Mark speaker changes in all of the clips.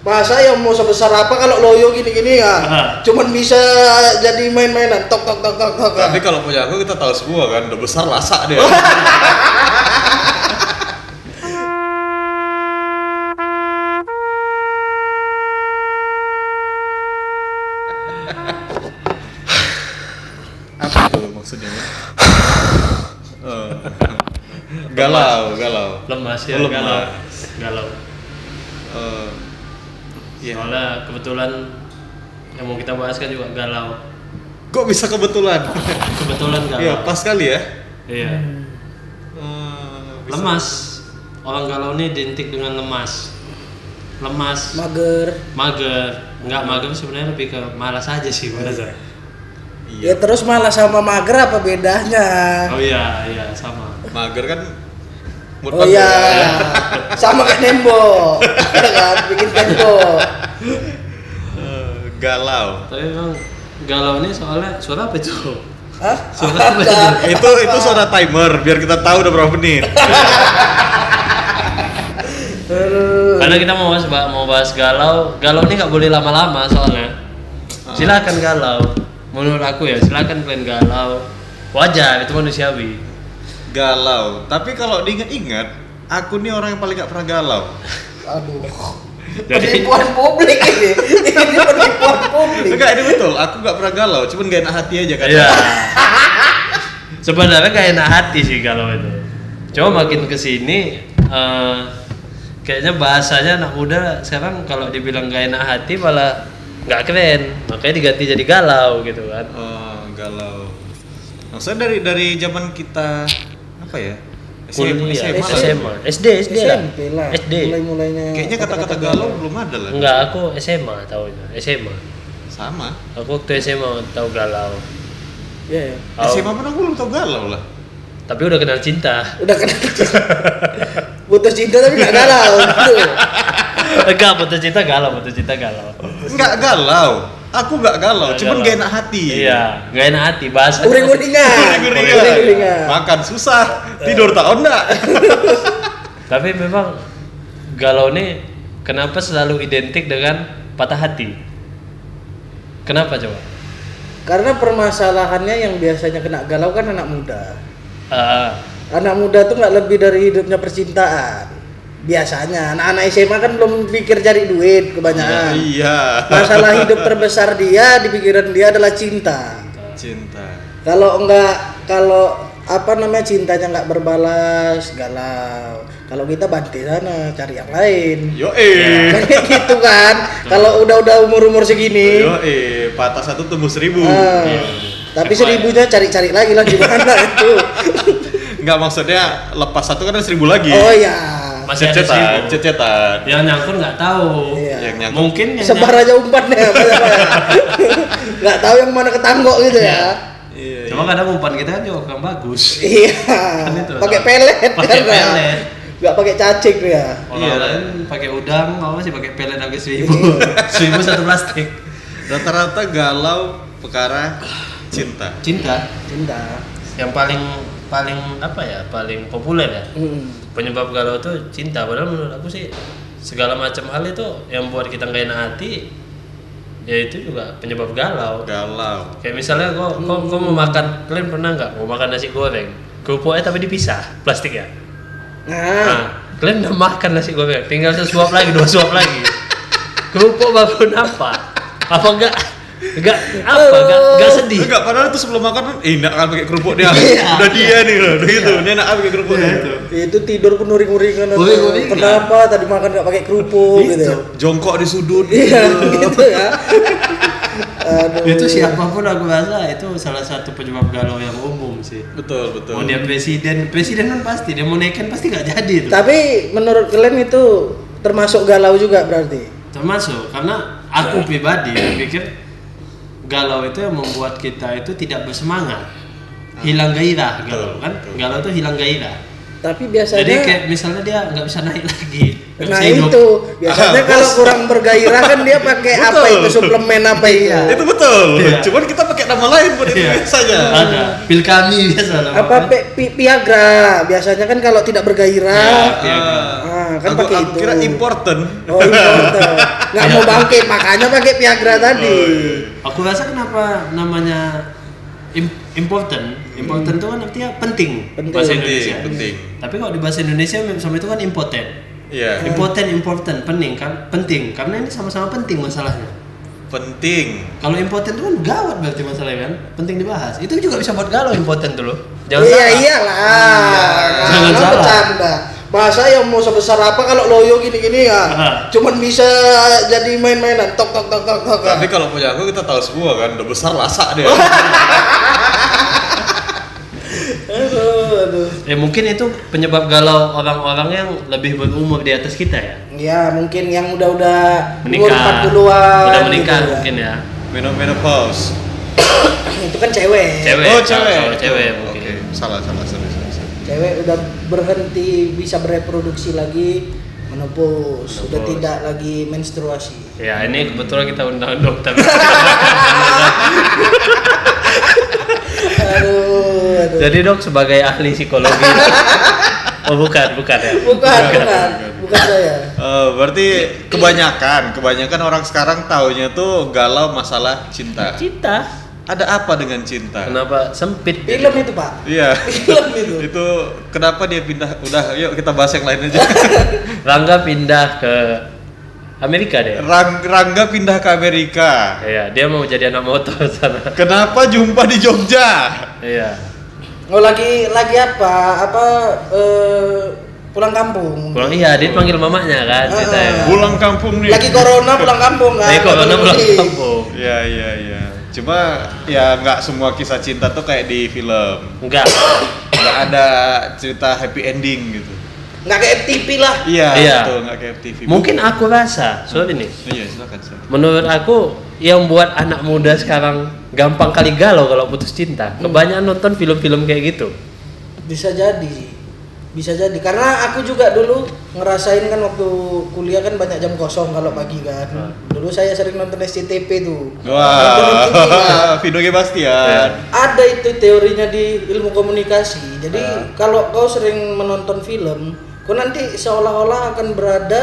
Speaker 1: Bahasa yang mau sebesar apa kalau loyo gini-gini ya.
Speaker 2: Aha.
Speaker 1: Cuman bisa jadi main-mainan tok tok tok tok tok.
Speaker 3: Tapi kalau punya aku kita tahu semua kan, udah besar lasak dia. Apa itu maksudnya? Eh, galau, galau.
Speaker 2: lemas ya
Speaker 3: Lemas.
Speaker 2: galau galau
Speaker 3: Eh, iya.
Speaker 2: soalnya kebetulan yang mau kita bahas kan juga galau
Speaker 3: Kok bisa kebetulan?
Speaker 2: kebetulan galau
Speaker 3: Iya, pas kali ya.
Speaker 2: Iya.
Speaker 3: Eh, bisa.
Speaker 2: lemas orang galau ini identik dengan lemas lemas
Speaker 1: Mager.
Speaker 2: mager nggak mager sebenarnya lebih ke malas aja sih malas
Speaker 3: Oh,
Speaker 2: aja.
Speaker 3: Iya.
Speaker 1: Ya terus malah sama mager apa bedanya?
Speaker 2: oh iya iya sama
Speaker 3: Mager kan mood
Speaker 1: Oh
Speaker 3: mager
Speaker 1: iya,
Speaker 3: ya.
Speaker 1: sama kayak tembok, ya kan? Bikin tembok.
Speaker 3: Eh, galau.
Speaker 2: tapi memang galau ini soalnya suara apa itu
Speaker 1: Hah?
Speaker 2: Suara apa?
Speaker 1: Apa?
Speaker 3: Itu itu suara timer biar kita tahu udah berapa menit.
Speaker 1: Aduh.
Speaker 2: karena kita mau bahas mau bahas galau galau ini nggak boleh lama-lama soalnya silakan galau menurut aku ya silakan kalian galau wajar itu manusiawi
Speaker 3: Galau. Tapi kalau diingat-ingat, aku nih orang yang paling gak pernah galau.
Speaker 1: Aduh.
Speaker 2: Jadi-
Speaker 1: penipuan publik ini. Ini penipuan publik.
Speaker 3: Enggak, ini betul. Aku gak pernah galau, cuman gak enak hati aja kan.
Speaker 2: Iya. Sebenarnya gak enak hati sih kalau itu. Cuma makin kesini, eh, kayaknya bahasanya anak muda sekarang kalau dibilang gak enak hati malah nggak keren. Makanya diganti jadi galau gitu kan.
Speaker 3: Oh, galau. Maksudnya dari dari zaman kita apa ya?
Speaker 2: Kuliah,
Speaker 3: SMA, lah.
Speaker 2: SMA, SD, SD lah.
Speaker 1: SMP lah.
Speaker 2: SD.
Speaker 1: Mulai-mulainya.
Speaker 3: Kayaknya kata-kata galau belum ada lah.
Speaker 2: Enggak, aku SMA tahunya, SMA.
Speaker 3: Sama.
Speaker 2: Aku waktu SMA tahu galau.
Speaker 1: Iya, ya.
Speaker 2: Tahu.
Speaker 3: SMA pun aku belum tau galau lah.
Speaker 2: Tapi udah kenal cinta.
Speaker 1: Udah kena Putus cinta tapi gak galau. Gitu.
Speaker 2: Enggak, putus cinta galau, putus cinta galau.
Speaker 3: Enggak galau. Aku gak galau,
Speaker 2: Nggak
Speaker 3: Oh, cuman
Speaker 2: galau.
Speaker 3: gak enak hati.
Speaker 2: Iya, gak enak hati bahasa.
Speaker 1: Uring-uringan.
Speaker 3: Geringan.
Speaker 1: Uring-uringan.
Speaker 3: Makan susah, tidur tak enggak.
Speaker 2: Tapi memang galau ini kenapa selalu identik dengan patah hati? Kenapa coba?
Speaker 1: Karena permasalahannya yang biasanya kena galau kan anak muda.
Speaker 2: Eh,
Speaker 1: Anak muda tuh nggak lebih dari hidupnya percintaan. Biasanya anak-anak SMA kan belum pikir cari duit kebanyakan.
Speaker 3: Iya.
Speaker 1: Masalah hidup terbesar dia di pikiran dia adalah cinta.
Speaker 3: Cinta.
Speaker 1: Kalau enggak kalau apa namanya cintanya nggak berbalas galau. Kalau kita bantai sana cari yang lain.
Speaker 3: Yo eh.
Speaker 1: Kayak gitu kan. Kalau udah-udah umur-umur segini.
Speaker 2: Iya.
Speaker 3: Yo eh, patah satu tumbuh seribu.
Speaker 1: ah, tapi seribunya cari-cari lagi lah gimana itu.
Speaker 3: Enggak maksudnya lepas satu kan ada seribu
Speaker 2: Iya.
Speaker 3: lagi.
Speaker 1: Oh ya.
Speaker 2: masih ada
Speaker 3: Cecetan,
Speaker 2: seribu.
Speaker 3: cecetan.
Speaker 2: Yang nyangkut nggak tahu.
Speaker 1: Iya.
Speaker 3: Yang nyangkut.
Speaker 2: Mungkin yang
Speaker 1: Sebar
Speaker 2: nyangkut-
Speaker 1: aja umpan ya. Nggak tahu yang mana ketanggok gitu ya.
Speaker 3: Iya.
Speaker 2: Cuma kadang umpan kita kan juga kurang bagus. Kan
Speaker 1: Iya.
Speaker 2: itu.
Speaker 1: Pakai pelet.
Speaker 2: Pakai
Speaker 1: kan, Ra?
Speaker 2: pelet.
Speaker 1: Nggak pakai cacing ya.
Speaker 2: Orang
Speaker 3: Iya.
Speaker 2: lain pakai udang, kamu masih pakai pelet harga seribu. seribu satu plastik.
Speaker 3: Rata-rata galau perkara cinta.
Speaker 2: Cinta
Speaker 1: Cinta.
Speaker 2: yang paling paling apa ya paling populer ya
Speaker 1: Mm.
Speaker 2: penyebab galau tuh cinta padahal menurut aku sih segala macam hal itu yang buat kita nggak enak hati ya itu juga penyebab galau
Speaker 3: Galau.
Speaker 2: kayak misalnya kok kok kok mau makan kalian pernah nggak mau makan nasi goreng kerupuknya tapi dipisah plastik ya
Speaker 1: Nah,
Speaker 2: nah kalian udah makan nasi goreng tinggal sesuap lagi dua suap lagi kerupuk bangun apa apa enggak enggak apa enggak enggak sedih
Speaker 3: Enggak, padahal tuh sebelum makan kan eh, enak kan pakai kerupuk dia.
Speaker 1: Iya.
Speaker 3: Udah dia nih loh, udah gitu. Ini enak kan pakai kerupuk dia.
Speaker 2: Ah.
Speaker 1: itu tidur pun uring-uringan. atau
Speaker 2: Uring-uringan.
Speaker 1: Kenapa tadi makan nggak pakai kerupuk gitu.
Speaker 3: Jongkok di sudut.
Speaker 1: Iya, gitu ya. Aduh.
Speaker 2: itu siapapun aku rasa itu salah satu penyebab galau yang umum sih
Speaker 3: Betul, betul.
Speaker 2: mau dia presiden presiden kan pasti dia mau naikin pasti nggak jadi itu
Speaker 1: Tapi menurut kalian itu termasuk galau juga berarti?
Speaker 2: termasuk karena aku pribadi pikir galau itu yang membuat kita itu tidak bersemangat hilang gairah galau kan galau itu hilang gairah
Speaker 1: Tapi biasanya
Speaker 2: jadi kayak misalnya dia nggak bisa naik lagi nggak
Speaker 1: nah
Speaker 2: bisa hidup.
Speaker 1: itu biasanya
Speaker 3: Ah,
Speaker 1: kalau
Speaker 3: bos.
Speaker 1: kurang bergairah kan dia pakai apa
Speaker 3: Betul.
Speaker 1: itu suplemen apa itu?
Speaker 3: Itu betul.
Speaker 2: Iya.
Speaker 3: Cuman kita pakai nama lain buat itu
Speaker 2: Iya.
Speaker 3: saja.
Speaker 2: ada pil kami biasa lah
Speaker 1: apa Pi- Pi- Viagra biasanya kan kalau tidak bergairah
Speaker 2: Iya.
Speaker 3: Ah,
Speaker 1: Ah, kan
Speaker 3: aku,
Speaker 1: pakai
Speaker 3: aku
Speaker 1: itu.
Speaker 3: kira important.
Speaker 1: oh important nggak mau bangkit makanya pakai
Speaker 3: Oh,
Speaker 1: Viagra tadi.
Speaker 3: iya.
Speaker 2: Aku rasa kenapa namanya im- important, important itu kan artinya penting,
Speaker 1: Hmm. Penting.
Speaker 2: bahasa Indonesia.
Speaker 3: penting penting
Speaker 2: Tapi kalau di bahasa Indonesia sama itu kan impoten.
Speaker 3: iya
Speaker 1: Hmm.
Speaker 2: Impoten, important, penting kan, penting. Karena ini sama-sama penting masalahnya.
Speaker 3: penting
Speaker 2: Kalau impoten itu kan gawat berarti masalahnya kan, penting dibahas. Itu juga bisa buat galau impoten tuh loh. Jangan
Speaker 1: iya
Speaker 2: salah.
Speaker 1: iyalah.
Speaker 3: Iya.
Speaker 2: Jangan
Speaker 1: Kalau
Speaker 2: salah.
Speaker 1: bercanda. Bahasa yang mau sebesar apa kalau loyo gini-gini ya.
Speaker 2: Ah.
Speaker 1: Cuman bisa jadi main-mainan tok tok tok tok tok.
Speaker 3: tapi kalau punya aku kita tahu semua kan udah besar lasak dia
Speaker 1: Aduh, aduh.
Speaker 2: Eh mungkin itu penyebab galau orang-orang yang lebih berumur di atas kita ya.
Speaker 1: Ya, mungkin yang udah-udah umur
Speaker 2: Menikah.
Speaker 1: 40-an.
Speaker 2: Udah
Speaker 1: gitu
Speaker 2: menikah
Speaker 1: ya.
Speaker 2: mungkin ya.
Speaker 3: menopause
Speaker 1: Itu kan cewek.
Speaker 2: Cewek.
Speaker 3: oh
Speaker 2: kalau-
Speaker 3: cewek
Speaker 2: kalau cewek
Speaker 3: Oh,
Speaker 2: mungkin.
Speaker 3: oke. salah salah sorry sorry, sorry.
Speaker 1: Cewek udah berhenti bisa bereproduksi lagi, menopause, sudah
Speaker 2: Menopause.
Speaker 1: tidak lagi menstruasi.
Speaker 2: Ya ini kebetulan kita undang dokter.
Speaker 1: Aduh, aduh.
Speaker 2: Jadi dok sebagai ahli psikologi. oh bukan, bukan ya.
Speaker 1: Bukan,
Speaker 3: Bukan,
Speaker 1: bukan,
Speaker 3: bukan.
Speaker 1: bukan saya.
Speaker 3: Eh, berarti kebanyakan kebanyakan orang sekarang taunya tuh galau masalah cinta
Speaker 2: Cinta.
Speaker 3: ada apa dengan cinta
Speaker 2: Kenapa sempit? jadi?
Speaker 1: Film itu, Pak.
Speaker 3: iya
Speaker 1: Film itu.
Speaker 3: itu kenapa dia pindah udah yuk kita bahas yang lain aja
Speaker 2: Rangga pindah ke Amerika deh.
Speaker 3: Rang- Rangga pindah ke Amerika
Speaker 2: Iya, dia mau jadi anak motor sana.
Speaker 3: kenapa jumpa di Jogja
Speaker 2: Iya.
Speaker 1: Oh, lagi lagi apa? Apa eh, pulang kampung?
Speaker 2: Pulang iya, dia panggil mamanya kan ceritanya.
Speaker 1: Ah.
Speaker 3: pulang kampung nih
Speaker 1: Lagi corona pulang kampung kan?
Speaker 2: Eh, corona
Speaker 1: Lagi-
Speaker 2: pulang kampung.
Speaker 3: Iya iya iya. Cuma ya nggak semua kisah cinta tuh kayak di film.
Speaker 2: Enggak.
Speaker 3: Nggak ada cerita happy ending gitu.
Speaker 1: Nggak kayak FTP lah.
Speaker 3: Iya
Speaker 2: Iya.
Speaker 3: betul nggak kayak TV.
Speaker 2: Mungkin aku rasa, soal ini.
Speaker 3: Iya silakan silakan.
Speaker 2: Menurut aku yang buat anak muda sekarang gampang kali galau kalau putus cinta. Kebanyakan nonton film-film kayak gitu.
Speaker 1: Bisa jadi sih. Bisa jadi karena aku juga dulu ngerasain kan waktu kuliah kan banyak jam kosong kalau pagi
Speaker 2: Ah.
Speaker 1: kan. Dulu saya sering nonton SCTV tuh. Nonton SCTV, kan.
Speaker 3: Wah, Vino Gebastian.
Speaker 1: ada itu teorinya di ilmu komunikasi. Jadi
Speaker 3: Ah.
Speaker 1: kalau kau sering menonton film, kau nanti seolah-olah akan berada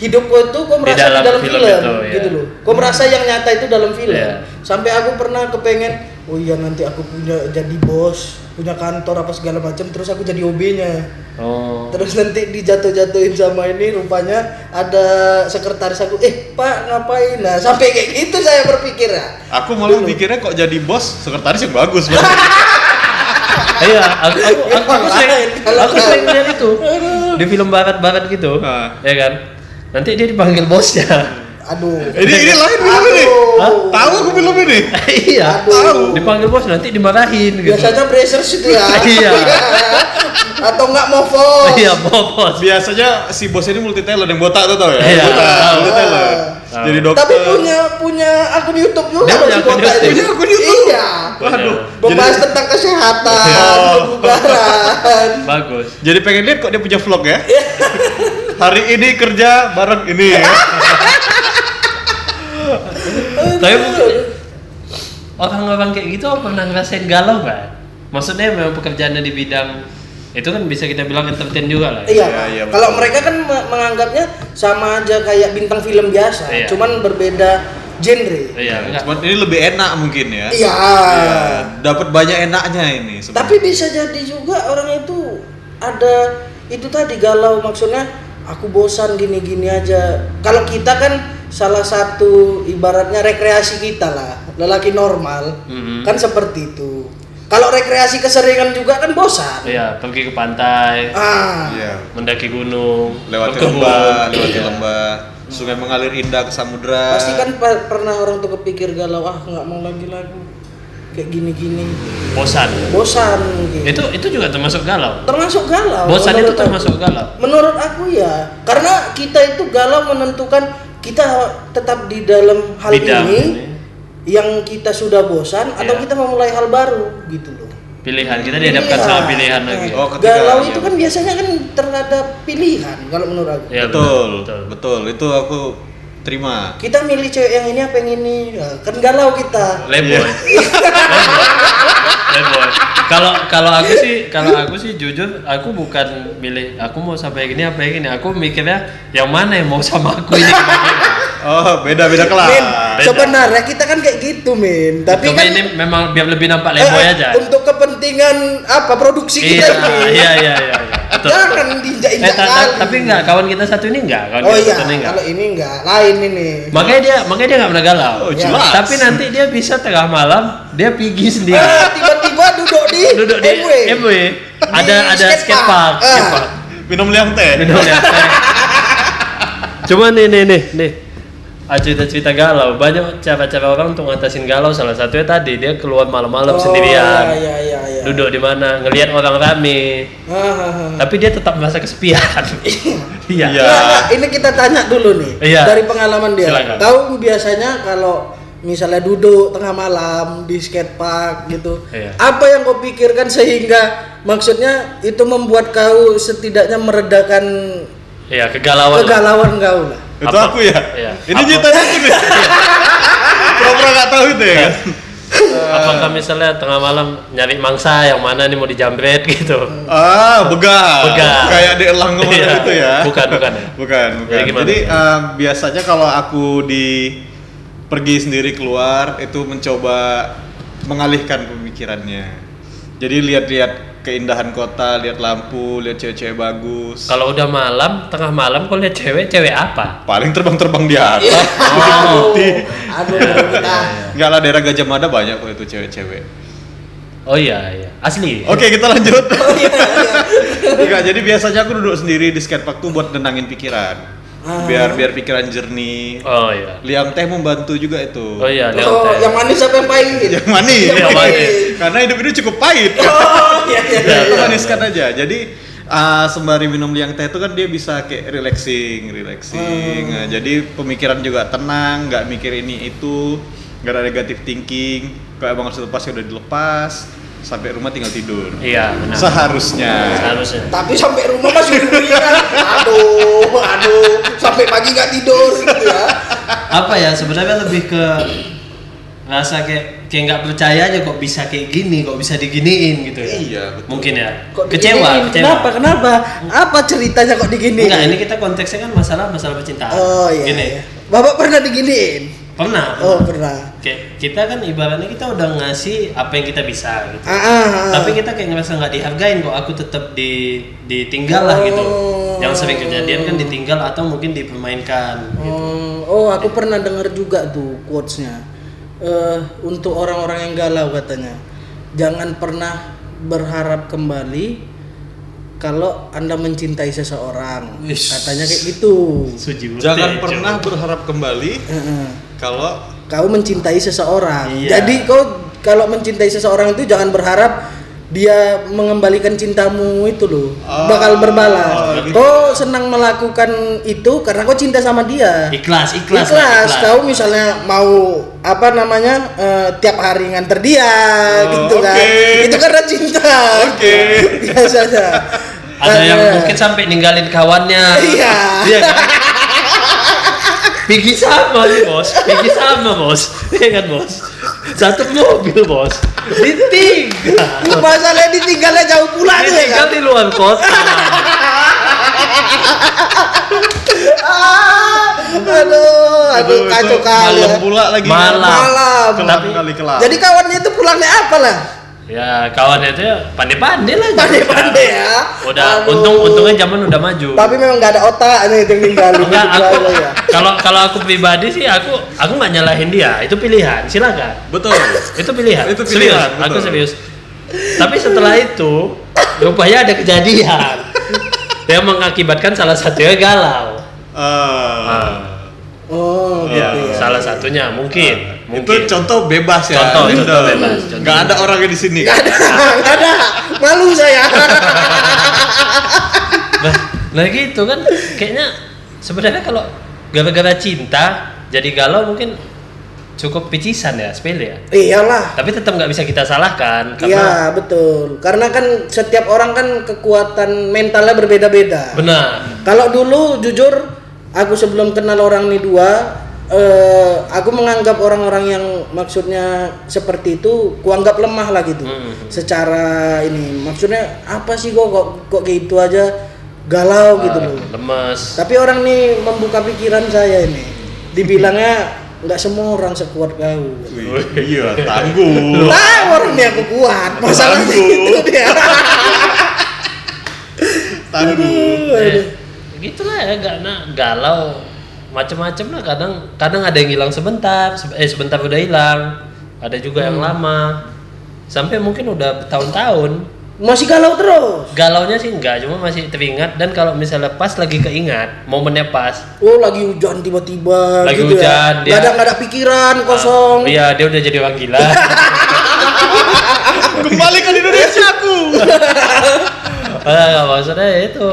Speaker 1: hidup kau itu kau
Speaker 2: Di
Speaker 1: merasa di dalam,
Speaker 2: dalam
Speaker 1: film,
Speaker 2: film itu, ya.
Speaker 1: gitu loh. Kau merasa yang nyata itu dalam film.
Speaker 2: Ya.
Speaker 1: Sampai aku pernah kepengen, oh iya nanti aku punya jadi bos, punya kantor apa segala macam, terus aku jadi OB-nya.
Speaker 2: Oh.
Speaker 1: Terus nanti dijatuh-jatuhin sama ini rupanya ada sekretaris aku, eh Pak ngapain? Nah, sampai kayak gitu saya berpikir ya.
Speaker 3: Aku malah
Speaker 1: Dulu.
Speaker 3: mikirnya kok jadi bos sekretaris yang bagus banget.
Speaker 2: Iya, aku aku,
Speaker 1: Ya,
Speaker 2: aku, aku
Speaker 1: orang
Speaker 2: sering
Speaker 1: lain kalau
Speaker 2: aku
Speaker 1: tahu.
Speaker 2: sering lihat itu
Speaker 1: ya.
Speaker 2: di film barat-barat gitu.
Speaker 3: Ah.
Speaker 2: Ya kan? Nanti dia dipanggil bosnya.
Speaker 1: Aduh.
Speaker 3: ini ini lain film ini.
Speaker 1: Hah?
Speaker 3: Tahu aku film ini.
Speaker 2: iya.
Speaker 1: Aduh.
Speaker 2: Dipanggil bos nanti dimarahin gitu.
Speaker 1: Biasanya pressure situ ya.
Speaker 2: Iya.
Speaker 1: Atau enggak mau vote.
Speaker 2: Iya, bos.
Speaker 3: Biasanya si bos ini multi talent yang botak tuh tau ya.
Speaker 2: Iya, Ah.
Speaker 3: Botak,
Speaker 2: tahu.
Speaker 3: multi talent.
Speaker 2: Tahu.
Speaker 3: Jadi dokter.
Speaker 1: Tapi punya punya akun YouTube juga
Speaker 2: Dia
Speaker 1: loh si
Speaker 2: punya akun
Speaker 1: Botak
Speaker 2: YouTube.
Speaker 1: itu.
Speaker 3: Punya akun YouTube.
Speaker 1: Iya.
Speaker 3: Waduh.
Speaker 1: Membahas
Speaker 3: Jadi-
Speaker 1: tentang kesehatan,
Speaker 3: Oh.
Speaker 1: kebugaran.
Speaker 2: Bagus.
Speaker 3: Jadi pengen lihat kok dia punya vlog
Speaker 1: Iya.
Speaker 3: ya. Hari ini kerja bareng ini. ya.
Speaker 1: Iya.
Speaker 2: Tapi orang-orang kayak gitu pernah ngerasain galau kan? Maksudnya memang pekerjaannya di bidang itu kan bisa kita bilang entertain juga lah. ya.
Speaker 1: Iya,
Speaker 3: Iya, iya,
Speaker 1: kalau
Speaker 3: betul.
Speaker 1: mereka kan me- menganggapnya sama aja kayak bintang film biasa,
Speaker 2: Iya.
Speaker 1: cuman berbeda genre.
Speaker 2: Iya, enggak.
Speaker 3: Cuman ini lebih enak mungkin ya.
Speaker 1: Iya.
Speaker 3: Iya, Dapat banyak enaknya ini. sebenarnya.
Speaker 1: Tapi bisa jadi juga orang itu ada itu tadi galau maksudnya aku bosan gini-gini aja. Kalau kita kan salah satu ibaratnya rekreasi kita lah, lelaki normal
Speaker 2: Mhm.
Speaker 1: kan seperti itu. Kalau rekreasi keseringan juga kan bosan.
Speaker 2: Iya, pergi ke pantai,
Speaker 1: Ah,
Speaker 3: Iya.
Speaker 2: mendaki gunung,
Speaker 3: Lewati
Speaker 2: berkebun.
Speaker 3: lembah, lewati
Speaker 2: Iya.
Speaker 3: lembah. Sungai mengalir indah ke samudra.
Speaker 1: pasti kan pe- pernah orang tuh kepikir galau ah nggak mau lagi lagu kayak gini-gini
Speaker 2: Bosan.
Speaker 1: bosan gitu.
Speaker 2: Itu itu juga termasuk galau.
Speaker 1: termasuk galau.
Speaker 2: Bosan itu
Speaker 1: menurut aku.
Speaker 2: termasuk galau.
Speaker 1: Menurut aku ya, karena kita itu galau menentukan kita tetap di dalam hal
Speaker 2: Bidang gitu ya.
Speaker 1: ini
Speaker 2: ini.
Speaker 1: yang kita sudah bosan atau
Speaker 2: Iya.
Speaker 1: kita memulai hal baru gitu loh.
Speaker 2: Pilihan kita dihadapkan sama pilihan
Speaker 1: Eh,
Speaker 2: lagi.
Speaker 3: Oh, ketika-
Speaker 1: galau
Speaker 3: iya,
Speaker 1: itu kan
Speaker 3: betul.
Speaker 1: biasanya kan terhadap pilihan kalau menurut aku.
Speaker 2: Iya,
Speaker 3: betul,
Speaker 2: benar,
Speaker 3: betul, Itu aku terima.
Speaker 1: Kita milih cewek yang ini apa yang ini, Nah, kan galau kita.
Speaker 2: Leboy. Leboy. Iya. Kalau kalau aku sih kalau aku sih jujur aku bukan milih aku mau sampai gini apa yang ini aku mikirnya yang mana yang mau sama aku ini.
Speaker 3: Oh, beda-beda kelas.
Speaker 1: Min,
Speaker 2: Beda.
Speaker 1: sebenarnya kita kan kayak gitu, Min. Tapi
Speaker 2: Tapi
Speaker 1: kan
Speaker 2: ini memang biar lebih nampak
Speaker 1: eh,
Speaker 2: leboy
Speaker 1: eh,
Speaker 2: aja.
Speaker 1: untuk kepentingan apa produksi
Speaker 2: Iya,
Speaker 1: kita ini.
Speaker 2: iya, iya, iya. Betul.
Speaker 1: Jangan
Speaker 2: Eh,
Speaker 1: diinjak-injak
Speaker 2: ta- ta-
Speaker 1: kali.
Speaker 2: tapi enggak kawan kita satu ini enggak, kawan
Speaker 1: Oh
Speaker 2: kita
Speaker 1: iya,
Speaker 2: satu ini enggak.
Speaker 1: kalau ini enggak, lain ini.
Speaker 2: Makanya dia makanya dia enggak pernah galau.
Speaker 3: Oh,
Speaker 1: Ya.
Speaker 3: jelas.
Speaker 2: Tapi nanti dia bisa tengah malam dia pergi sendiri.
Speaker 1: Ah, tiba-tiba duduk di
Speaker 2: Duduk di
Speaker 1: MW.
Speaker 2: MW. Ada
Speaker 1: Di
Speaker 2: ada
Speaker 1: skatepark.
Speaker 2: skatepark,
Speaker 1: Ah.
Speaker 2: skatepark.
Speaker 3: minum liang teh.
Speaker 2: Minum ya. Cuma nih nih nih nih. Ah, cerita-cerita galau banyak cara-cara orang untuk ngatasin galau salah satunya tadi dia keluar
Speaker 1: Oh,
Speaker 2: malam-malam sendirian
Speaker 1: Iya, iya, iya.
Speaker 2: duduk di mana ngelihat orang rame
Speaker 1: Ah, ah, ah.
Speaker 2: tapi dia tetap merasa kesepian iya
Speaker 1: Nah,
Speaker 3: Iya.
Speaker 1: nah, ini kita tanya dulu nih
Speaker 2: Iya.
Speaker 1: dari pengalaman dia.
Speaker 2: Silakan.
Speaker 1: Tahu biasanya kalau misalnya duduk tengah malam di skatepark gitu,
Speaker 2: Iya.
Speaker 1: apa yang kau pikirkan sehingga maksudnya itu membuat kau setidaknya meredakan
Speaker 2: iya kegalauan lah.
Speaker 1: kegalauan kau lah.
Speaker 3: Itu
Speaker 2: Apa?
Speaker 3: aku ya.
Speaker 2: Iya.
Speaker 3: Ini
Speaker 2: Apa?
Speaker 3: ceritanya aku nih. Pura-pura nggak tahu itu ya kan.
Speaker 2: apakah misalnya tengah malam nyari mangsa yang mana nih mau dijambret gitu
Speaker 3: Ah, begal.
Speaker 2: Begal.
Speaker 3: Kayak di elang kemana
Speaker 2: Iya.
Speaker 3: itu ya.
Speaker 2: Bukan, bukan ya?
Speaker 3: Bukan, bukan.
Speaker 2: Jadi gimana?
Speaker 3: Jadi eh, biasanya kalau aku di pergi sendiri keluar itu mencoba mengalihkan pemikirannya. Jadi lihat-lihat keindahan kota, lihat lampu, lihat cewek-cewek bagus.
Speaker 2: kalau udah malam tengah malam kalau lihat cewek cewek apa
Speaker 3: Paling terbang-terbang di atas.
Speaker 1: Aduh, aduh,
Speaker 2: Iya,
Speaker 1: kita.
Speaker 3: Enggak lah daerah Gajah Mada banyak kok itu cewek-cewek.
Speaker 2: oh iya iya asli
Speaker 3: Oke kita lanjut.
Speaker 1: Oh iya.
Speaker 3: Enggak Iya, jadi biasanya aku duduk sendiri di skatepark tuh buat nenangin pikiran.
Speaker 1: Ah.
Speaker 3: Biar biar pikiran jernih.
Speaker 2: oh iya
Speaker 3: Liang teh membantu juga itu.
Speaker 2: oh iya lihat
Speaker 1: Oh,
Speaker 2: teh.
Speaker 1: yang manis apa yang pahit?
Speaker 3: Yang manis.
Speaker 2: Yang manis.
Speaker 3: Karena hidup ini cukup pahit.
Speaker 1: Oh, iya, iya,
Speaker 3: Jadi aku
Speaker 1: iya.
Speaker 3: maniskan aja. Jadi ah, sembari minum liang teh itu kan dia bisa kayak relaxing, relaxing. Nah, jadi pemikiran juga tenang, nggak mikir ini itu, nggak ada negatif thinking. Kayak bang Arsul lepas ya udah dilepas, sampai rumah tinggal tidur.
Speaker 2: iya benar
Speaker 3: Seharusnya.
Speaker 2: harusnya
Speaker 1: Tapi sampai rumah masih dibunyikan. Aduh, aduh, sampai pagi nggak tidur gitu ya.
Speaker 2: apa ya sebenarnya lebih ke rasa kayak kayak nggak percaya aja kok bisa kayak gini kok bisa diginiin gitu ya
Speaker 3: Iya, betul.
Speaker 2: mungkin ya
Speaker 1: Kok
Speaker 2: kecewa
Speaker 1: diginiin?
Speaker 2: kecewa
Speaker 1: Kenapa? Kenapa? Apa ceritanya kok digini?
Speaker 2: Enggak, ini kita konteksnya kan masalah masalah percintaan.
Speaker 1: Oh iya.
Speaker 2: Gini,
Speaker 1: iya. Bapak pernah diginiin?
Speaker 2: pernah.
Speaker 1: Oh, pernah.
Speaker 2: Kayak kita kan ibaratnya kita udah ngasih apa yang kita bisa gitu.
Speaker 1: Ah, ah, ah.
Speaker 2: Tapi kita kayak ngerasa nggak dihargain kok aku tetap di ditinggal lah gitu.
Speaker 1: Oh.
Speaker 2: Yang sering kejadian kan ditinggal atau mungkin dipermainkan.
Speaker 1: Oh, oh, aku pernah dengar juga tuh quotes-nya. Eh, untuk orang-orang yang galau katanya. Jangan pernah berharap kembali kalau Anda mencintai seseorang.
Speaker 2: Wish.
Speaker 1: Katanya kayak gitu.
Speaker 2: Suji Bute,
Speaker 3: Jangan
Speaker 2: Jo.
Speaker 3: pernah berharap kembali
Speaker 1: Heeh.
Speaker 3: kalau
Speaker 1: kau mencintai seseorang.
Speaker 2: Iya.
Speaker 1: Jadi kau kalau mencintai seseorang itu jangan berharap dia mengembalikan cintamu itu loh.
Speaker 3: Oh,
Speaker 1: bakal berbalas.
Speaker 3: gitu.
Speaker 1: Kau senang melakukan itu karena kau cinta sama dia.
Speaker 2: Ikhlas,
Speaker 1: Ikhlas.
Speaker 2: ikhlas, lah, ikhlas.
Speaker 1: kau misalnya mau apa namanya eh, tiap hari nganter dia
Speaker 3: Oh,
Speaker 1: gitu kan.
Speaker 3: oke.
Speaker 1: Itu karena cinta.
Speaker 3: Oke.
Speaker 1: Biasanya.
Speaker 2: Ada yang
Speaker 1: Karena-
Speaker 2: mungkin sampai ninggalin kawannya.
Speaker 1: Iya.
Speaker 2: Iya kan? Pergi sama nih bos, pergi sama bos, iya kan bos. Satu mobil bos, ditinggal.
Speaker 1: Masalahnya ditinggalnya jauh pula tuh ya
Speaker 2: Iya,
Speaker 1: kan.
Speaker 2: Ditinggal di luar kota.
Speaker 1: Ah, aduh, aduh
Speaker 3: itu
Speaker 1: kacau kali.
Speaker 3: malam
Speaker 1: ya.
Speaker 3: pula lagi
Speaker 2: Malam.
Speaker 1: malam.
Speaker 3: kelam kali kelam
Speaker 1: Jadi kawannya itu pulangnya apa lah?
Speaker 2: Ya kawannya itu ya pandai-pandai lah. kan.
Speaker 1: Pandai-pandai ya.
Speaker 2: Udah
Speaker 1: Aduh.
Speaker 2: untung untungnya zaman udah maju.
Speaker 1: Tapi memang nggak ada otaknya itu yang ninggalin
Speaker 2: Enggak, aku
Speaker 1: Kalau ya.
Speaker 2: kalau kalau aku pribadi sih aku aku nggak nyalahin dia itu pilihan silakan
Speaker 3: betul
Speaker 2: itu pilihan
Speaker 3: Itu pilihan,
Speaker 2: serius aku
Speaker 3: betul.
Speaker 2: serius tapi setelah itu rupanya ada kejadian yang mengakibatkan salah satunya galau
Speaker 3: Eh,
Speaker 2: Ah,
Speaker 1: Oh,
Speaker 3: Iya,
Speaker 1: gitu ya.
Speaker 2: salah satunya mungkin
Speaker 3: Eh, Ah. itu
Speaker 2: mungkin
Speaker 3: contoh bebas ya
Speaker 2: Contoh,
Speaker 3: Random.
Speaker 2: contoh bebas, contoh
Speaker 3: nggak ada orangnya di sini
Speaker 1: Ah, Nggak ada. Malu saya.
Speaker 2: Bah, nah gitu kan kayaknya sebenarnya kalau gara-gara cinta jadi galau mungkin cukup picisan ya sepele ya
Speaker 1: Iyalah.
Speaker 2: tapi tetap nggak bisa kita salahkan karena
Speaker 1: Iya, betul. Karena kan setiap orang kan kekuatan mentalnya berbeda-beda.
Speaker 2: benar
Speaker 1: Kalau dulu jujur aku sebelum kenal orang ini dua eh, aku menganggap orang-orang yang maksudnya seperti itu kuanggap lemah lah gitu.
Speaker 2: Hmm.
Speaker 1: Secara ini maksudnya apa sih kok kok, kok kayak gitu aja galau gitu
Speaker 2: Ah,
Speaker 1: loh.
Speaker 2: lemes
Speaker 1: Tapi orang ini membuka pikiran saya ini. dibilangnya nggak semua orang sekuat kau
Speaker 3: Wih, iya tangguh
Speaker 1: Lah orang dia aku kuat masalahnya
Speaker 3: Aduh.
Speaker 1: itu dia
Speaker 3: tangguh
Speaker 1: aduh.
Speaker 2: Eh, gitulah ya gak nak galau macem-macem lah kadang kadang ada yang hilang sebentar se- eh sebentar udah hilang ada
Speaker 1: Hmm.
Speaker 2: juga yang lama sampai mungkin udah bertahun-tahun
Speaker 1: masih galau terus
Speaker 2: galaunya sih enggak cuma masih teringat dan kalau misalnya pas lagi keingat momennya pas
Speaker 1: oh lagi hujan tiba-tiba
Speaker 2: Lagi
Speaker 1: gitu ya
Speaker 2: hujan, dia-
Speaker 1: nggak ada nggak ada pikiran kosong
Speaker 2: Ah, iya dia udah jadi orang gila
Speaker 3: kembali ke Indonesia aku
Speaker 2: Ah, nggak, maksudnya ya itu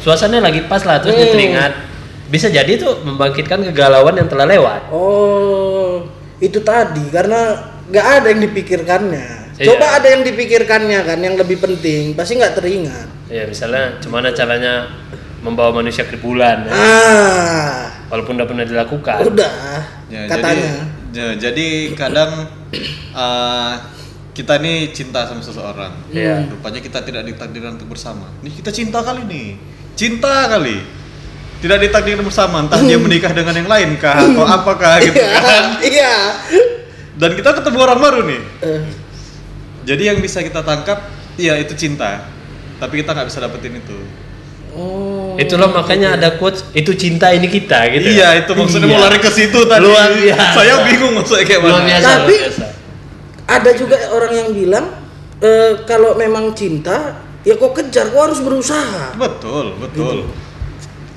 Speaker 2: suasananya lagi pas lah terus dia
Speaker 1: Hmm.
Speaker 2: teringat bisa jadi itu membangkitkan kegalauan yang telah lewat
Speaker 1: oh itu tadi karena nggak ada yang dipikirkannya
Speaker 2: Iya.
Speaker 1: coba ada yang dipikirkannya kan yang lebih penting pasti nggak teringat
Speaker 2: ya misalnya gimana caranya membawa manusia ke bulan ya.
Speaker 1: ah
Speaker 2: walaupun udah pernah dilakukan
Speaker 1: udah
Speaker 3: Ya,
Speaker 1: katanya
Speaker 3: Jadi, ya, jadi kadang eh, kita nih cinta sama seseorang.
Speaker 2: Iya.
Speaker 3: Rupanya kita tidak ditakdirkan untuk bersama. Nih kita cinta kali nih. Cinta kali. Tidak ditakdirkan bersama, entah dia menikah dengan yang lain kah atau apakah gitu kan.
Speaker 1: iya
Speaker 3: Dan kita ketemu orang baru nih.
Speaker 1: Eh,
Speaker 3: Jadi yang bisa kita tangkap, ya itu cinta. Tapi kita nggak bisa dapetin itu.
Speaker 1: oh
Speaker 2: itulah makanya ada quotes itu cinta ini kita gitu
Speaker 3: Iya, itu maksudnya
Speaker 2: Iya.
Speaker 3: mau lari ke situ tadi.
Speaker 2: Luar biasa.
Speaker 3: Saya bingung maksudnya kayak
Speaker 2: luar
Speaker 3: mana.
Speaker 2: biasa luar
Speaker 1: Tapi-
Speaker 2: biasa.
Speaker 1: ada juga orang yang bilang eh, kalau memang cinta ya kau kejar kau harus berusaha
Speaker 3: Betul, betul.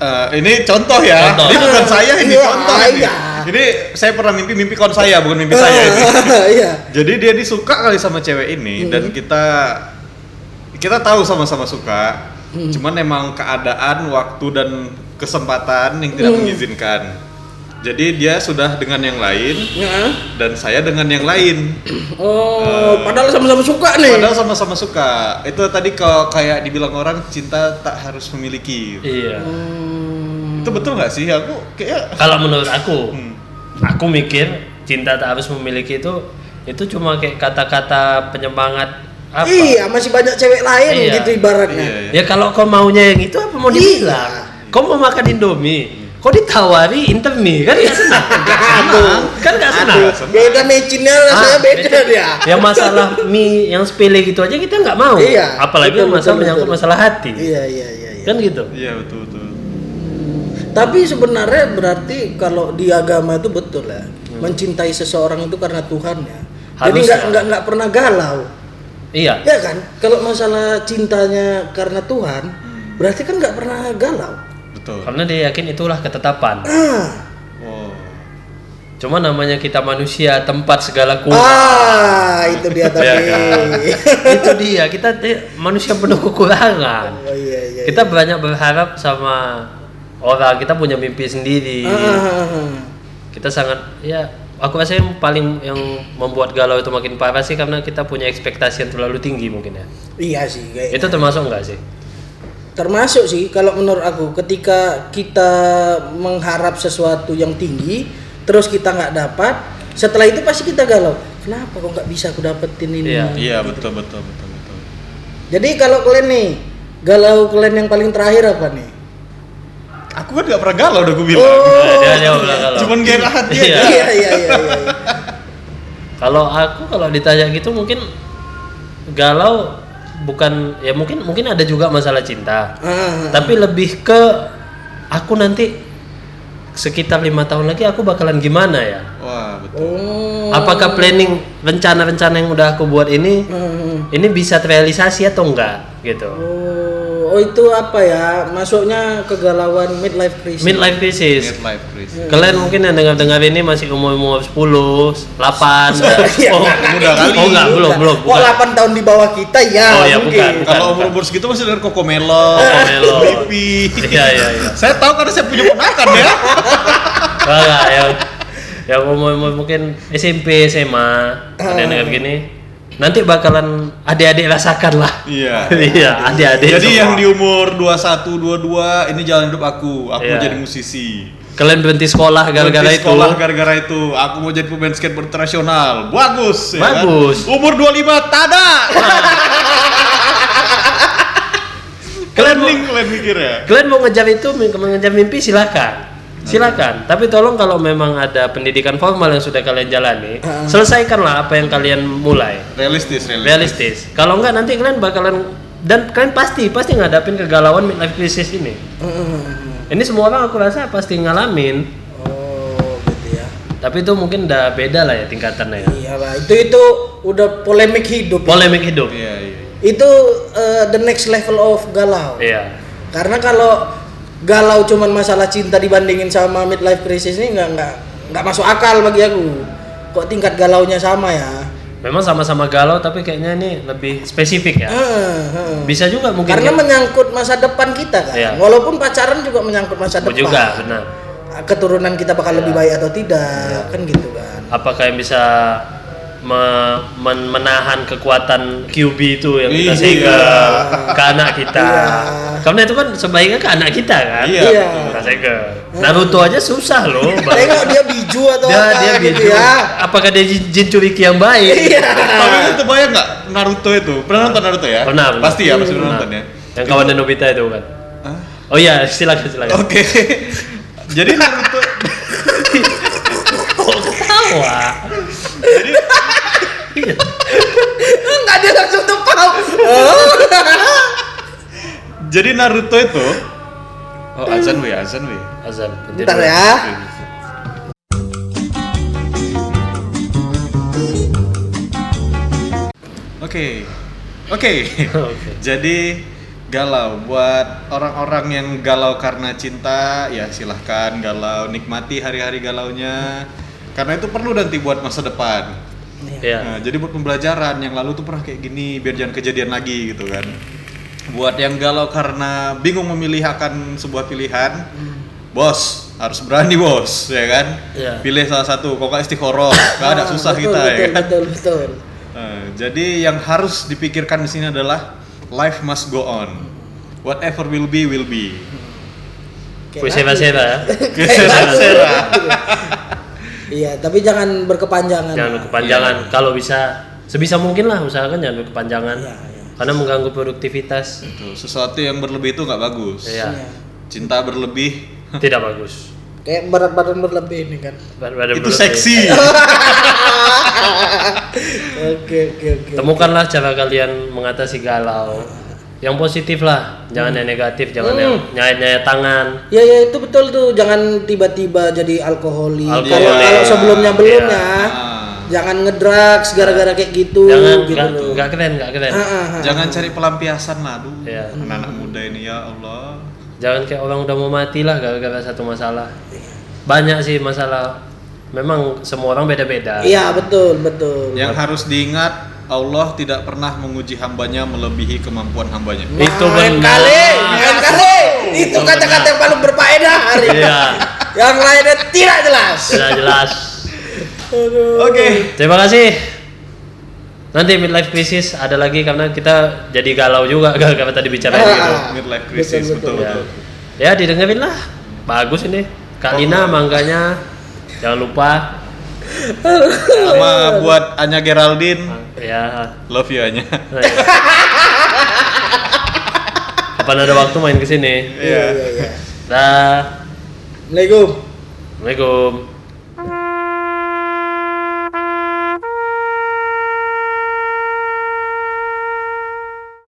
Speaker 3: Eh, ini contoh ya.
Speaker 2: Contoh.
Speaker 3: Ini bukan saya, ini
Speaker 1: Iya,
Speaker 3: contoh ini.
Speaker 1: iya.
Speaker 3: Ini saya pernah mimpi mimpi kon saya, bukan mimpi saya ini.
Speaker 1: iya
Speaker 3: Jadi dia disuka kali sama cewek ini dan kita kita tahu sama-sama suka.
Speaker 1: Hmm.
Speaker 3: Cuman emang keadaan, waktu dan kesempatan yang
Speaker 1: Hmm.
Speaker 3: tidak mengizinkan. Jadi dia sudah dengan yang lain
Speaker 1: Nah.
Speaker 3: dan saya dengan yang lain.
Speaker 1: oh padahal sama-sama suka nih
Speaker 3: Padahal sama-sama suka. Itu tadi kalau kayak dibilang orang cinta tak harus memiliki.
Speaker 2: iya
Speaker 1: Hmm.
Speaker 3: Itu betul nggak sih? Aku kayak
Speaker 2: kalau menurut aku aku mikir cinta tak harus memiliki itu itu cuma kayak kata-kata penyemangat apa
Speaker 1: iya masih banyak cewek lain
Speaker 2: Iya.
Speaker 1: gitu ibaratnya
Speaker 2: ya
Speaker 3: Iya,
Speaker 2: kalau kau maunya yang itu apa mau
Speaker 1: Iya.
Speaker 2: dibilang kau mau makan indomie kau ditawari indomie kan nggak senang
Speaker 1: Aduh.
Speaker 2: kan nggak senang
Speaker 1: Aduh, beda kan mecinnya rasanya
Speaker 2: Ah,
Speaker 1: beda
Speaker 2: beda.
Speaker 1: dia
Speaker 2: yang masalah mie yang sepele gitu aja kita nggak mau
Speaker 1: Iya,
Speaker 2: apalagi
Speaker 1: betul,
Speaker 2: yang masalah
Speaker 1: betul,
Speaker 2: menyangkut
Speaker 1: betul.
Speaker 2: masalah hati
Speaker 1: iya iya iya, iya.
Speaker 2: kan gitu
Speaker 3: Iya betul betul.
Speaker 1: tapi sebenarnya berarti kalau di agama itu betul ya mencintai seseorang itu karena Tuhan ya jadi
Speaker 2: Harus
Speaker 1: nggak
Speaker 2: ya.
Speaker 1: nggak nggak pernah galau
Speaker 2: iya
Speaker 1: Ya kan? Kalau masalah cintanya karena Tuhan, berarti kan nggak pernah galau.
Speaker 3: Betul.
Speaker 2: karena dia yakin itulah ketetapan
Speaker 1: Ah,
Speaker 3: Wow.
Speaker 2: cuma namanya kita manusia tempat segala kurang
Speaker 1: ah itu dia tadi.
Speaker 2: Iya Oh. kan? itu dia kita ti- manusia penuh kekurangan
Speaker 1: oh iya iya.
Speaker 2: kita banyak berharap sama orang kita punya mimpi sendiri
Speaker 1: Ah,
Speaker 2: kita sangat ya aku rasa yang paling yang membuat galau itu makin parah sih karena kita punya ekspektasi yang terlalu tinggi mungkin ya
Speaker 1: iya sih. Kayak.
Speaker 2: itu termasuk enggak sih
Speaker 1: Termasuk sih kalau menurut aku ketika kita mengharap sesuatu yang tinggi, terus kita nggak dapat, setelah itu pasti kita galau. Kenapa kok nggak bisa aku dapetin ini?
Speaker 2: Iya.
Speaker 3: Iya betul betul betul betul.
Speaker 1: Jadi kalau kalian nih galau kalian yang paling terakhir apa nih?
Speaker 3: Aku kan gak pernah galau udah gue bilang.
Speaker 1: Oh.
Speaker 2: Nah, dia, dia bilang galau.
Speaker 3: Cuman gak enak hati
Speaker 2: Iya.
Speaker 3: aja.
Speaker 1: iya iya. iya, iya.
Speaker 2: Kalau aku kalau ditanya gitu mungkin galau bukan ya mungkin mungkin ada juga masalah cinta.
Speaker 1: Ah.
Speaker 2: Tapi lebih ke aku nanti sekitar lima tahun lagi aku bakalan gimana ya?
Speaker 3: Wah betul.
Speaker 1: Oh.
Speaker 2: Apakah planning rencana-rencana yang udah aku buat ini
Speaker 1: Hmm.
Speaker 2: ini bisa terrealisasi atau enggak gitu?
Speaker 1: Oh, oh itu apa ya? Masuknya kegalauan midlife crisis.
Speaker 2: Midlife crisis.
Speaker 3: Midlife crisis.
Speaker 2: Kalian mungkin yang dengar-dengar ini masih umur-umur 10, 8.
Speaker 1: Iya,
Speaker 2: oh,
Speaker 1: nggak,
Speaker 3: muda
Speaker 1: nggak,
Speaker 3: kali.
Speaker 2: Oh, enggak,
Speaker 1: nggak.
Speaker 2: belum, belum.
Speaker 1: Oh,
Speaker 2: bukan.
Speaker 1: 8 tahun di bawah kita ya.
Speaker 2: Oh, ya,
Speaker 1: mungkin.
Speaker 2: bukan.
Speaker 3: Kalau umur umur segitu masih dengar koko melon,
Speaker 2: Koko melon.
Speaker 3: Lipi.
Speaker 2: Iya, iya, iya.
Speaker 3: Saya tahu karena saya punya ponakan ya.
Speaker 2: Enggak, ya. yang yang umur umur mungkin SMP SMA ada yang dengar gini nanti bakalan adik-adik rasakan lah
Speaker 3: Iya.
Speaker 2: iya adik-adik
Speaker 3: Jadi
Speaker 2: semua.
Speaker 3: yang di umur 21, 22 ini jalan hidup aku. Aku
Speaker 2: Iya.
Speaker 3: mau jadi musisi.
Speaker 2: kalian berhenti sekolah gara-gara
Speaker 3: Berhenti
Speaker 2: itu
Speaker 3: sekolah gara-gara itu. Aku mau jadi pemain skateboard internasional. Bagus. kan?
Speaker 2: Bagus.
Speaker 3: Umur 25 tada.
Speaker 2: kalian
Speaker 3: Kalian
Speaker 2: mau,
Speaker 3: kalian ya? mikir ya.
Speaker 2: kalian mau ngejar itu mengejar mimpi silakan silakan tapi tolong kalau memang ada pendidikan formal yang sudah kalian jalani
Speaker 1: Ah.
Speaker 2: selesaikanlah apa yang kalian mulai
Speaker 3: realistis realistis
Speaker 2: realistis kalau enggak nanti kalian bakalan dan kalian pasti pasti ngadapin kegalauan midlife crisis ini
Speaker 1: Hmm.
Speaker 2: ini semua orang aku rasa pasti ngalamin
Speaker 1: Oh, gitu ya.
Speaker 2: tapi itu mungkin udah beda lah ya tingkatannya ya
Speaker 1: Iyalah, itu itu udah polemik hidup.
Speaker 2: polemik hidup
Speaker 3: iya iya
Speaker 1: Itu eh, the next level of galau.
Speaker 2: iya
Speaker 1: Karena kalau galau cuman masalah cinta dibandingin sama midlife crisis ini nggak nggak nggak masuk akal bagi aku. Kok tingkat galaunya sama ya?
Speaker 2: memang sama-sama galau tapi kayaknya ini lebih spesifik ya
Speaker 1: Heeh, heeh.
Speaker 2: bisa juga mungkin
Speaker 1: Karena
Speaker 2: ya.
Speaker 1: menyangkut masa depan kita kan.
Speaker 2: Iya.
Speaker 1: Walaupun pacaran juga menyangkut masa depan.
Speaker 2: Mau
Speaker 1: Ah,
Speaker 2: juga Ya. benar
Speaker 1: Keturunan kita bakal lebih baik atau tidak, kan gitu kan.
Speaker 2: apakah yang bisa me- men- menahan kekuatan QB itu yang kita
Speaker 3: Iya.
Speaker 2: segel ke anak kita
Speaker 1: Iya.
Speaker 2: karena itu kan sebaiknya ke anak kita kan
Speaker 3: Iya,
Speaker 1: Iya.
Speaker 3: betul.
Speaker 2: kita segel Naruto aja susah loh Bang.
Speaker 1: Tengok dia biju atau
Speaker 2: dia
Speaker 1: apa
Speaker 2: dia
Speaker 1: gitu
Speaker 2: biju.
Speaker 1: ya.
Speaker 2: apakah dia jin, jin curiki yang baik
Speaker 1: Iya.
Speaker 3: Tapi itu terbayang nggak Naruto itu? Pernah nonton Naruto ya?
Speaker 2: Pernah, pernah.
Speaker 3: Pasti ya, pasti pernah
Speaker 2: Nah,
Speaker 3: nonton ya.
Speaker 2: yang kawan Nobita itu kan
Speaker 3: Hah?
Speaker 2: oh iya silakan silakan
Speaker 3: Oke. Jadi Naruto
Speaker 2: ketawa Iya.
Speaker 1: Enggak dia langsung tepau. Oh.
Speaker 3: Jadi Naruto itu Oh, azan weh, azan weh.
Speaker 2: Azan pencet
Speaker 1: Bentar
Speaker 2: dulu.
Speaker 1: ya.
Speaker 3: Oke. Oke.
Speaker 2: Oke.
Speaker 3: Jadi galau buat orang-orang yang galau karena cinta, ya silahkan galau, nikmati hari-hari galaunya. Karena itu perlu nanti buat masa depan.
Speaker 1: Ya.
Speaker 2: Iya.
Speaker 3: Nah, jadi buat pembelajaran yang lalu tuh pernah kayak gini biar jangan kejadian lagi gitu kan. Buat yang galau karena bingung memilih akan sebuah pilihan,
Speaker 1: Hmm.
Speaker 3: bos harus berani bos ya kan.
Speaker 2: Iya.
Speaker 3: Pilih salah satu, kok nggak istiqoroh, nggak ada
Speaker 1: Ah,
Speaker 3: susah
Speaker 1: betul,
Speaker 3: kita
Speaker 1: betul,
Speaker 3: ya kan.
Speaker 1: Betul betul.
Speaker 3: Nah, jadi yang harus dipikirkan di sini adalah life must go on. Whatever will be will be.
Speaker 1: Kayak
Speaker 2: Puisi
Speaker 1: lagu.
Speaker 2: bahasa ya.
Speaker 1: Kayak lagu. Iya, tapi jangan berkepanjangan.
Speaker 2: Jangan
Speaker 1: lah.
Speaker 2: berkepanjangan.
Speaker 3: Iya.
Speaker 2: Kalau bisa sebisa mungkin lah usahakan jangan berkepanjangan.
Speaker 1: Iya, iya.
Speaker 2: Karena mengganggu produktivitas.
Speaker 3: Itu, Gitu. sesuatu yang berlebih itu nggak bagus.
Speaker 2: Iya.
Speaker 1: Iya.
Speaker 3: Cinta berlebih
Speaker 2: Tidak bagus.
Speaker 1: Kayak berat badan berlebih ini kan.
Speaker 2: Ber- ber-
Speaker 3: itu
Speaker 2: berlebih.
Speaker 3: seksi.
Speaker 1: Oke oke oke.
Speaker 2: Temukanlah cara kalian mengatasi galau. Yang positif lah,
Speaker 1: Hmm.
Speaker 2: jangan yang negatif, jangan yang nyayat-nyayat tangan.
Speaker 1: Ya ya itu betul tuh, jangan tiba-tiba jadi alkoholik. Kalau-
Speaker 2: Alkoholik.
Speaker 1: Kalau sebelumnya belum
Speaker 2: Iya.
Speaker 1: ya.
Speaker 3: Ah.
Speaker 1: Jangan ngedrugs gara-gara kayak gitu
Speaker 2: jangan
Speaker 1: gitu.
Speaker 2: nggak
Speaker 1: loh.
Speaker 2: nggak keren, nggak keren.
Speaker 1: Ah, ah, ah.
Speaker 3: Jangan cari pelampiasan lah, aduh.
Speaker 2: Iya.
Speaker 3: Anak-anak muda ini ya Allah.
Speaker 2: Jangan kayak orang udah mau mati lah gara-gara satu masalah. Banyak sih masalah. Memang semua orang beda-beda.
Speaker 1: Iya, betul betul.
Speaker 2: Ya,
Speaker 3: Yang harus diingat, Allah tidak pernah menguji hambanya melebihi kemampuan hambanya.
Speaker 2: Itu
Speaker 1: Lain
Speaker 2: benar.
Speaker 1: kali, lain kali. Itu
Speaker 2: Itu
Speaker 1: kata-kata
Speaker 2: benar.
Speaker 1: yang paling berfaedah hari. ini.
Speaker 2: Iya.
Speaker 1: Yang lainnya tidak jelas.
Speaker 2: Sudah jelas.
Speaker 1: Aduh.
Speaker 3: Oke.
Speaker 2: Terima kasih. Nanti midlife crisis ada lagi karena kita jadi galau juga gara-gara tadi bicara
Speaker 1: Ah,
Speaker 2: gitu.
Speaker 1: ah.
Speaker 3: Midlife crisis,
Speaker 1: Betul,
Speaker 3: betul-betul.
Speaker 2: Ya. ya didengerin lah. Bagus ini. Kak Lina mangganya jangan lupa Iya.
Speaker 3: Sama buat Anya Geraldine.
Speaker 2: ya.
Speaker 3: Love you Anya.
Speaker 2: Nah, ya. Kapan ada waktu main ke sini?
Speaker 1: Iya, iya, iya.
Speaker 2: Dah.
Speaker 1: Assalamualaikum.
Speaker 2: Assalamualaikum.